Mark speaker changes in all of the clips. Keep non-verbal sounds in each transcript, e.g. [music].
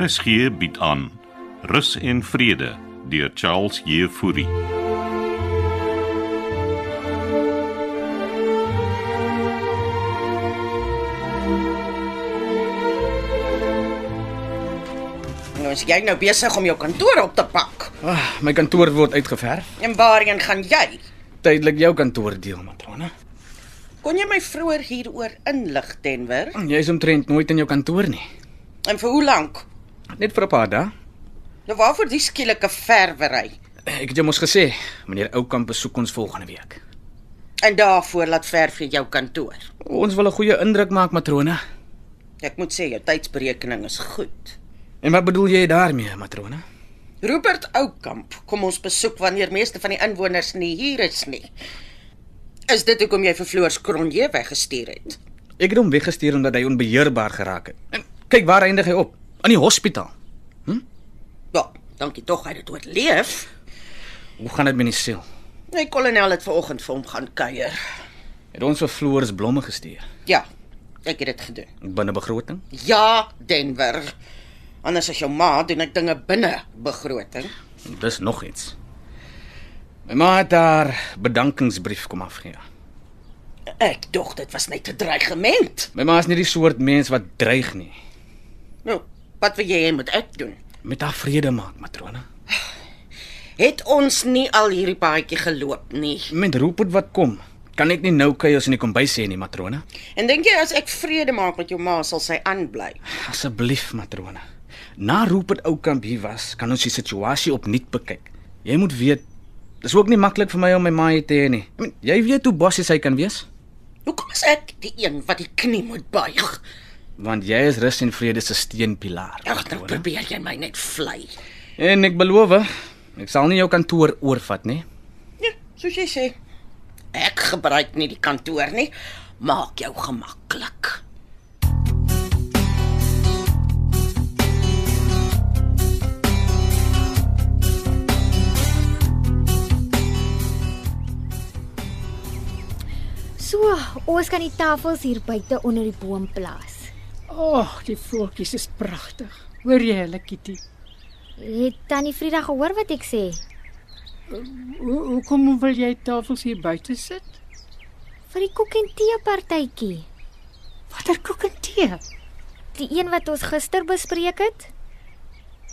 Speaker 1: RSG bied aan Rus en Vrede deur Charles Jefouri.
Speaker 2: En ons jy nou besig om jou kantoor op te pak.
Speaker 3: Ah, my kantoor word uitgeverf.
Speaker 2: En waarheen gaan jy?
Speaker 3: Tydelik jou kantoor deel, matrone.
Speaker 2: Kon jy my vroeër hieroor inlig, Denver?
Speaker 3: Jy is omtrent nooit in jou kantoor nie.
Speaker 2: En vir hoe lank?
Speaker 3: Net vir 'n paar dae.
Speaker 2: Nou waarvoor die skielike verwery?
Speaker 3: Ek het jou mos gesê, meneer Oukamp besoek ons volgende week.
Speaker 2: En daarvoor laat verf jy jou kantoor.
Speaker 3: Ons wil 'n goeie indruk maak, matrone.
Speaker 2: Ek moet sê jou tydsberekening is goed.
Speaker 3: En wat bedoel jy daarmee, matrone?
Speaker 2: Robert Oukamp kom ons besoek wanneer meeste van die inwoners nie hier is nie. Is dit hoekom jy vir Floors Kronje weggestuur het?
Speaker 3: Ek het hom weggestuur omdat hy onbeheerbaar geraak het. En kyk waar eindig hy op? In die hospitaal.
Speaker 2: Ja, dankie tog hy het dit oorleef.
Speaker 3: Hoe gaan dit met die siel?
Speaker 2: My kolonel het vanoggend vir hom gaan kuier.
Speaker 3: Het ons vir Floors blomme gestuur
Speaker 2: Ja, ek het dit gedoen.
Speaker 3: binne begroting?
Speaker 2: Ja, Denver. Anders as jou ma doen ek dinge binne begroting.
Speaker 3: Dis nog iets. My ma het haar bedankingsbrief kom afgee.
Speaker 2: Ek dink dit was net 'n dreigement.
Speaker 3: My ma is nie die soort mens wat dreig nie.
Speaker 2: Nou, wat wil jy hê moet ek doen?
Speaker 3: met haar vrede maak, matrone.
Speaker 2: Het ons nie al hierdie paadjie geloop nie.
Speaker 3: Met Rupert wat kom, kan ek nie nou kuiers in die kombuis sê nie, matrone.
Speaker 2: En dink jy as ek vrede maak met jou ma sal sy aanbly?
Speaker 3: Asseblief, matrone. Na Rupert Oukamp hier was, kan ons die situasie opnuut bekyk. Jy moet weet, dis ook nie maklik vir my om my ma hier te hê nie. I mean, jy weet hoe bossies hy kan wees,
Speaker 2: Hoekom is ek die een wat die knie moet buig?
Speaker 3: want jy is rus en vrede se steunpilaar.
Speaker 2: Ag, nou
Speaker 3: matrone.
Speaker 2: probeer jy my net vlei.
Speaker 3: En ek beloof, ek sal nie jou kantoor oorvat nie.
Speaker 2: Ja, soos jy sê. Ek gebruik nie die kantoor nie. Maak jou gemaklik.
Speaker 4: So, ons kan die tafels hier buite onder die boom plaas.
Speaker 5: Ag, die voeltjies is pragtig. Hoor jy hulle, Kitty?
Speaker 4: Het tannie Frieda gehoor wat ek sê?
Speaker 5: Hoe hoekom wil jy tafels hier buite sit?
Speaker 4: Vir die koek en tee partytjie.
Speaker 5: Watter koek en tee?
Speaker 4: Die een wat ons gister bespreek het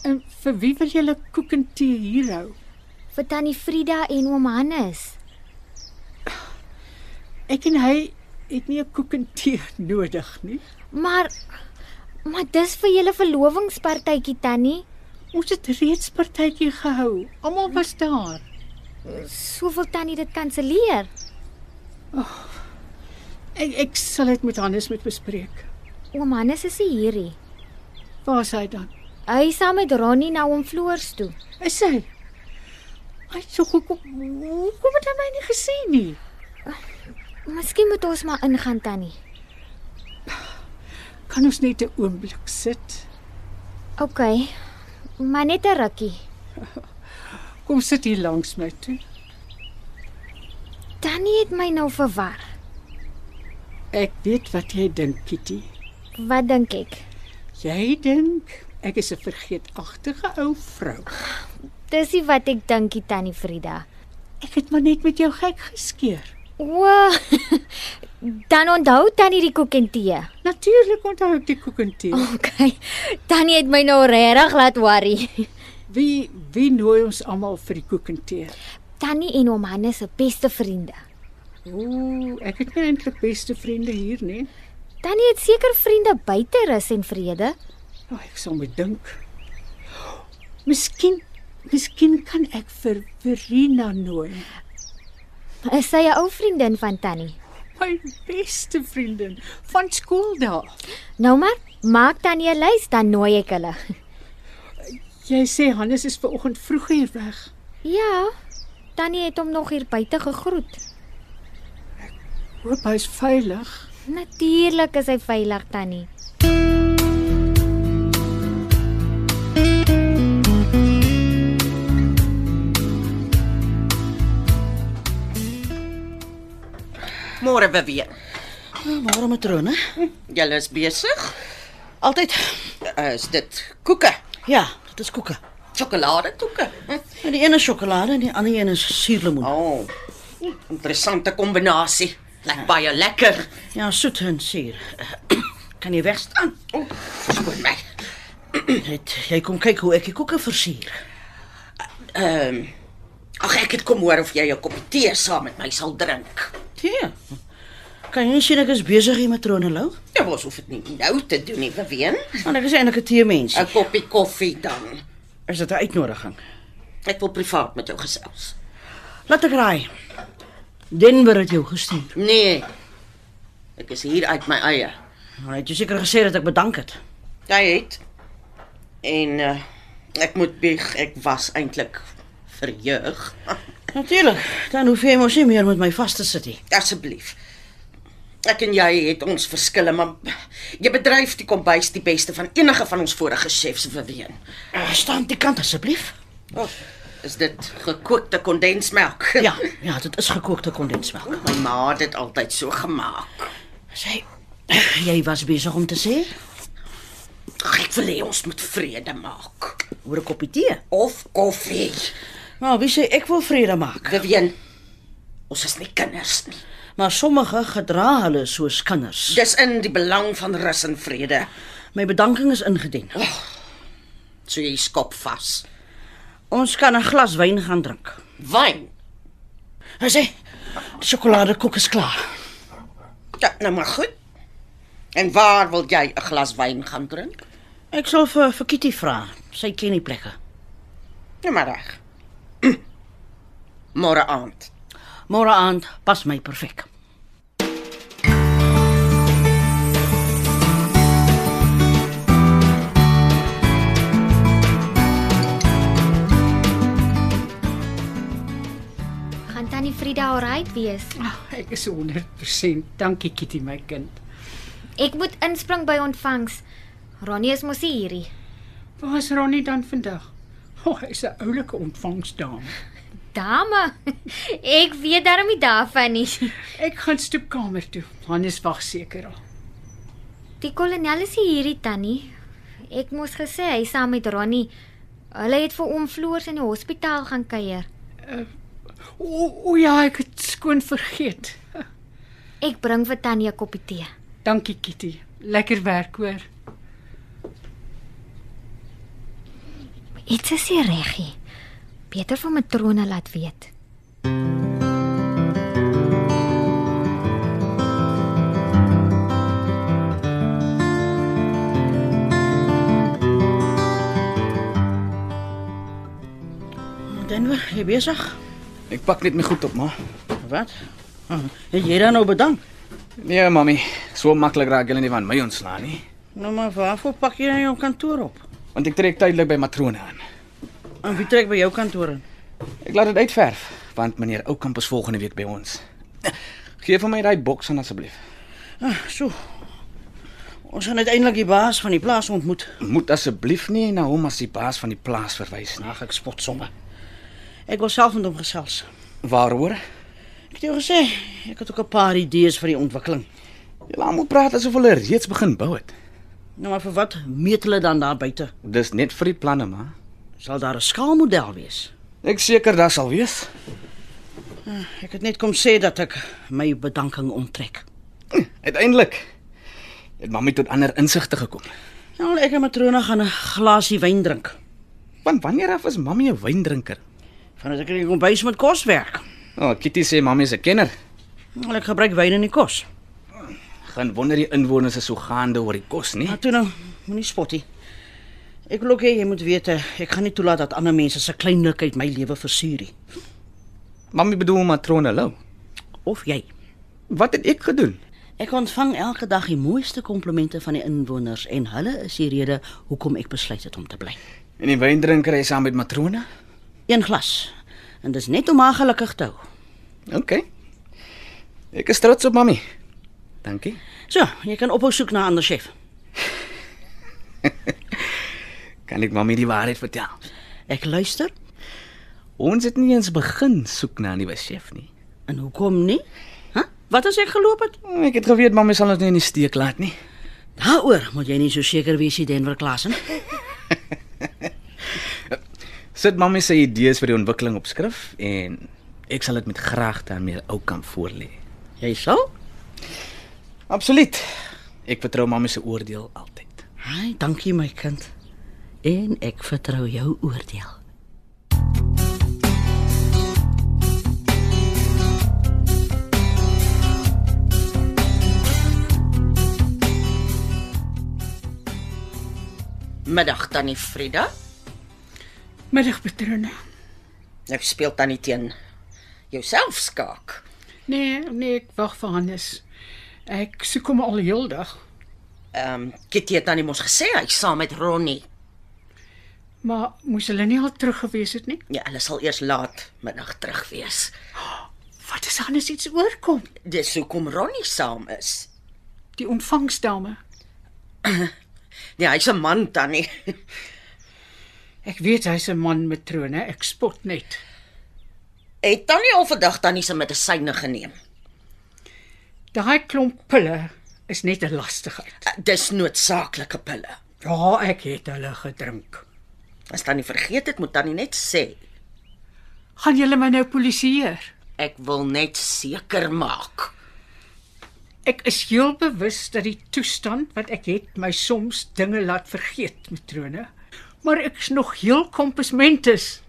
Speaker 5: En vir wie wil julle koek en tee hier hou?
Speaker 4: vir tannie Frieda en oom Hannes.
Speaker 5: Ek en hy het nie 'n koek en tee [laughs] nodig nie.
Speaker 4: Maar maar dis vir julle verlovingspartytjie tannie.
Speaker 5: Ons het reeds partytjie gehou. Almal was daar.
Speaker 4: Soveel tannie dit kanselleer.
Speaker 5: Ek ek sal dit met Hannes moet bespreek.
Speaker 4: Oom Hannes is nie hierie.
Speaker 5: Waar is hy dan?
Speaker 4: Hy is saam met Ronnie na oom Floors toe.
Speaker 5: Is hy? Hy sê hoekom hoekom het hy my nie gesien nie?
Speaker 4: Miskien moet ons maar ingaan tannie.
Speaker 5: Kan ons net 'n oomblik sit?
Speaker 4: OK. Maar net 'n rukkie.
Speaker 5: Kom sit hier langs my toe.
Speaker 4: Tannie het my nou verwar.
Speaker 5: Ek weet wat jy dink, Kitty.
Speaker 4: Wat dink ek?
Speaker 5: Jy dink ek is 'n vergeetagtige ou vrou.
Speaker 4: Dis nie wat ek dink, die tannie Frida.
Speaker 5: Ek het maar net met jou gek geskeur.
Speaker 4: O, [laughs] dan onthou tannie die koek en tee.
Speaker 5: Natuurlik onthou ek die koek en tee. Oh.
Speaker 4: OK. Tannie het my nou regtig laat worry. [laughs]
Speaker 5: Ah. Wie wie nooi ons almal vir die koek en tee?
Speaker 4: Tannie en oom Hannes se beste vriende.
Speaker 5: Ooh, ek het nie eintlik beste vriende hier nie.
Speaker 4: Tannie het seker vriende buite rus en vrede.
Speaker 5: Nou ek sal moet dink. Miskien miskien kan ek vir Verena nooi.
Speaker 4: Is sy 'n ou vriendin van tannie?
Speaker 5: My beste vriendin van skool daar.
Speaker 4: Nou maar, maak tannie 'n lys dan nooi ek hulle. [laughs]
Speaker 5: Jy sê Hannes is ver oggend vroeg hier weg.
Speaker 4: Ja. Tannie het hom nog hier buite gegroet.
Speaker 5: Hoop hy's veilig.
Speaker 4: Natuurlik is hy veilig, tannie.
Speaker 2: Môre weer weer.
Speaker 6: Môre matrone.
Speaker 2: Julle is besig.
Speaker 6: Altyd
Speaker 2: Uh, is dit koeke?
Speaker 6: Ja, dit is koeke.
Speaker 2: Sjokoladekoeke. Hm?
Speaker 6: En die ene is sjokolade en die ander een is suurlemoen. Oh.
Speaker 2: O. Oh, interessante kombinasie. Lyk baie lekker.
Speaker 6: Ja, soet en suur. [coughs] kan jy [coughs] wegstaan?
Speaker 2: O, oh, skoon my.
Speaker 6: Het, jy kom kyk hoe ek die koeke versier.
Speaker 2: Ehm um, Ag ek het kom hoor of jy 'n koppie tee saam met my sal drink.
Speaker 6: Tee. Kan jy sien ek is besig hier met Tronelou?
Speaker 2: Ja, ons hoef dit nie nou te doen nie, Beween.
Speaker 6: Want ek Nou, is eintlik 'n teemens.
Speaker 2: 'n Koppie koffie dan.
Speaker 6: Is dit 'n uitnodiging?
Speaker 2: Ek wil privaat met jou gesels.
Speaker 6: Laat ek raai. Denver het jou gestuur.
Speaker 2: Nee. Ek is hier uit my eie.
Speaker 6: Hy het jou seker gesê dat ek bedank het.
Speaker 2: Jy het en uh, ek moet bieg, ek was eintlik verjeug.
Speaker 6: Natuurlik. Dan hoef jy mos nie meer met my vas te sit nie.
Speaker 2: [laughs] Asseblief. Ek en jy het ons verskille, maar jy bedryf die kombuis die beste van enige van ons vorige chefs verween.
Speaker 6: Eh, Staan aan die kant asseblief.
Speaker 2: Oh, is dit gekookte kondensmelk?
Speaker 6: Ja,
Speaker 2: [laughs]
Speaker 6: ja, dit is gekookte kondensmelk.
Speaker 2: My ma het dit altyd so gemaak.
Speaker 6: [coughs] Sê, jy was besig om te sê
Speaker 2: Ag, ek wil hê ons moet vrede maak
Speaker 6: oor 'n koppie tee.
Speaker 2: of koffie.
Speaker 6: Maar Nou, wie sê ek wil vrede maak?
Speaker 2: Beween. Ons is nie kinders nie.
Speaker 6: Maar sommige gedra hulle soos kinders.
Speaker 2: Dis in die belang van rus en vrede.
Speaker 6: My bedanking is ingedien.
Speaker 2: So jy skop vas.
Speaker 6: Ons kan 'n glas wyn gaan drink.
Speaker 2: Wyn.
Speaker 6: Hy sê, die sjokoladekoek is klaar.
Speaker 2: Ja, nou maar goed. En waar wil jy 'n glas wyn gaan drink?
Speaker 6: Ek sal vir vir Kitty vra. Sy ken die plekke.
Speaker 2: Nou maar reg. [clears throat] Môre aand.
Speaker 6: Môre aand pas my perfek.
Speaker 4: Gaan tannie Frida alright wees?
Speaker 5: Ag, Ah, ek is 100%. Dankie Kitty my kind.
Speaker 4: Ek moet inspring by ontvangs. Ronnie is mos nie hierdie.
Speaker 5: Waar is Ronnie dan vandag? O, oh, hy's 'n oulike ontvangsdame.
Speaker 4: Dame, [laughs] ek weet darm nie daarvan nie. [laughs]
Speaker 5: Ek gaan stoepkamer toe. Hannes wag seker al.
Speaker 4: Die kolonel is nie hierdie tannie. Ek moes gesê hy is saam met Ronnie. Hulle het vir oom Floors in die hospitaal gaan kuier.
Speaker 5: O, o ja, ek het skoon vergeet.
Speaker 4: Ek bring vir tannie 'n koppie tee.
Speaker 5: Dankie Kitty. Lekker werk hoor.
Speaker 4: Iets is nie reggie. Beter van matrone laat weet.
Speaker 6: Denver, jy besig?
Speaker 3: Ek pak net my goed op, ma.
Speaker 6: Wat? Ah, Het jy dan nou bedank?
Speaker 3: Nee, mami, so maklik raak julle nie van my ontslaan nie,
Speaker 6: Nou maar waarvoor pak jy nou jou kantoor op?
Speaker 3: want ek trek tydelik by matrone aan.
Speaker 6: En wie trek by jou kantoor in?
Speaker 3: Ek laat dit uitverf, want meneer Oukamp is volgende week by ons. Geef vir my daai boks aan asseblief.
Speaker 6: Ah, so. Ons gaan uiteindelik die baas van die plaas ontmoet.
Speaker 3: Moet asseblief nie na hom as die baas van die plaas verwys nie.
Speaker 6: Ag, ek spot sommer. Ek wil self met hom gesels.
Speaker 3: Waaroor?
Speaker 6: Ek het jou gesê, ek het ook 'n paar idees vir die ontwikkeling.
Speaker 3: Jy laat moet praat asof hulle reeds begin bou het.
Speaker 6: Nou maar vir wat meet hulle dan daar buite?
Speaker 3: Dis net vir die planne, maar
Speaker 6: Sal daar 'n skaalmodel wees?
Speaker 3: ek seker daar sal wees.
Speaker 6: Ek het net kom sê dat ek my bedanking onttrek.
Speaker 3: Uiteindelik het mami tot ander insigte gekom.
Speaker 6: Nou, ek en matrone gaan 'n glasie wyn drink.
Speaker 3: Want wanneer af is mami 'n wyndrinker?
Speaker 6: Vandat ek in die kombuis met kos werk.
Speaker 3: O, oh, Kitty sê mami is 'n kenner.
Speaker 6: Wel, ek gebruik wyn in die kos.
Speaker 3: Gaan wonder die inwoners is so gaande oor die kos, nie?
Speaker 6: Maar toe nou, moenie spot nie. Ek wil ook hê jy moet weet eh, ek gaan nie toelaat dat ander mense se kleinlikheid my lewe versuur nie.
Speaker 3: Mami bedoel matrone Lou.
Speaker 6: Of jy.
Speaker 3: Wat het ek gedoen?
Speaker 6: Ek ontvang elke dag die mooiste komplimente van die inwoners en hulle is die rede hoekom ek besluit het om te bly.
Speaker 3: En die wyndrinker is saam met matrone?
Speaker 6: Een glas. En dis net om haar gelukkig te hou.
Speaker 3: OK. Ek is trots op mami. Dankie.
Speaker 6: So, jy kan ophou soek na 'n ander chef.
Speaker 3: Kan ek mami die waarheid vertel?
Speaker 6: Ek luister.
Speaker 3: Ons het nie eens begin soek na 'n nuwe chef nie.
Speaker 6: En hoekom nie? Hæ? Huh? Wat as ek geloop het?
Speaker 3: Ek het geweet mami sal ons nie in die steek laat nie.
Speaker 6: Daaroor moet jy nie so seker wees, nie, Denver Klassen.
Speaker 3: Sit mamma se idees vir die ontwikkeling op skrif en ek sal dit met graagte aan meer ou kan voorlê.
Speaker 6: Jy sal?
Speaker 3: Absoluut. Ek vertrou mamma se oordeel altyd.
Speaker 6: Ai, dankie my kind. En ek vertrou jou oordeel.
Speaker 2: Middag tannie Frida.
Speaker 5: Middag Petrona.
Speaker 2: Nou speel tannie teen jouself skaak.
Speaker 5: Nee, nee, ek wag vir Hannes. Ek soek hom al heeldag,
Speaker 2: Ehm um, Kitty het tannie mos gesê hy is saam met Ronnie.
Speaker 5: maar moes hulle nie al terug gewees het nie?
Speaker 2: Ja, hulle sal eers laat middag terug wees.
Speaker 5: Wat as Hannes iets oorkom?
Speaker 2: Dis hoekom Ronnie saam is.
Speaker 5: Die ontvangsdame.
Speaker 2: Nee, hy's 'n man tannie. [laughs]
Speaker 5: Ek weet hy's 'n man matrone, ek spot net.
Speaker 2: Het tannie al vandag tannie se medisyne geneem?
Speaker 5: Daai klomp pille is net 'n lastigheid.
Speaker 2: Eh, Dis noodsaaklike pille.
Speaker 5: Ja, ek het hulle gedrink.
Speaker 2: As tannie vergeet het, moet tannie net sê.
Speaker 5: Gaan julle my nou polisieer?
Speaker 2: Ek wil net seker maak.
Speaker 5: Ek is heel bewus dat die toestand wat ek het my soms dinge laat vergeet, matrone. Maar ek's nog heel kompasmentes.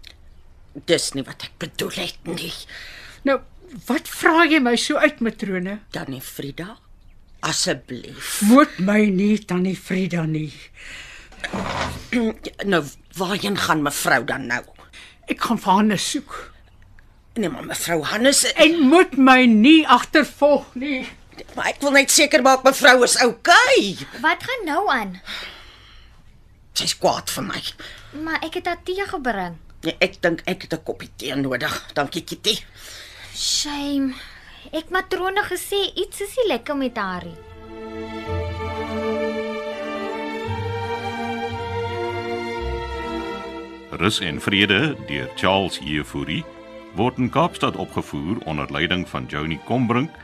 Speaker 2: Dis nie wat ek bedoel het nie.
Speaker 5: Nou, wat vra jy my so uit, matrone?
Speaker 2: Tannie Frida, asseblief.
Speaker 5: Moet my nie tannie Frida nie.
Speaker 2: Nou, waarheen gaan mevrou dan nou?
Speaker 5: Ek gaan vir Hannes soek
Speaker 2: Nee, maar mevrou Hannes, en,
Speaker 5: en moet my nie agtervolg nie.
Speaker 2: maar ek wil net seker maak mevrou is oukei. Okay.
Speaker 4: Wat gaan nou aan?
Speaker 2: Sy's kwaad vir my.
Speaker 4: Maar ek het haar tee gebring.
Speaker 2: Nee, ek dink ek het 'n koppie tee nodig. Dankie Kitty.
Speaker 4: Shame. Ek matrone gesê iets is nie lekker met haar nie.
Speaker 1: Rus en Vrede deur Charles Jefouri word in Kaapstad opgevoer onder leiding van Johnny Combrink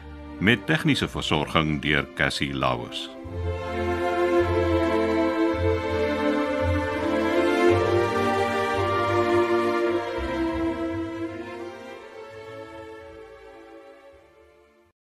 Speaker 1: met tegniese versorging deur Cassie Lauers.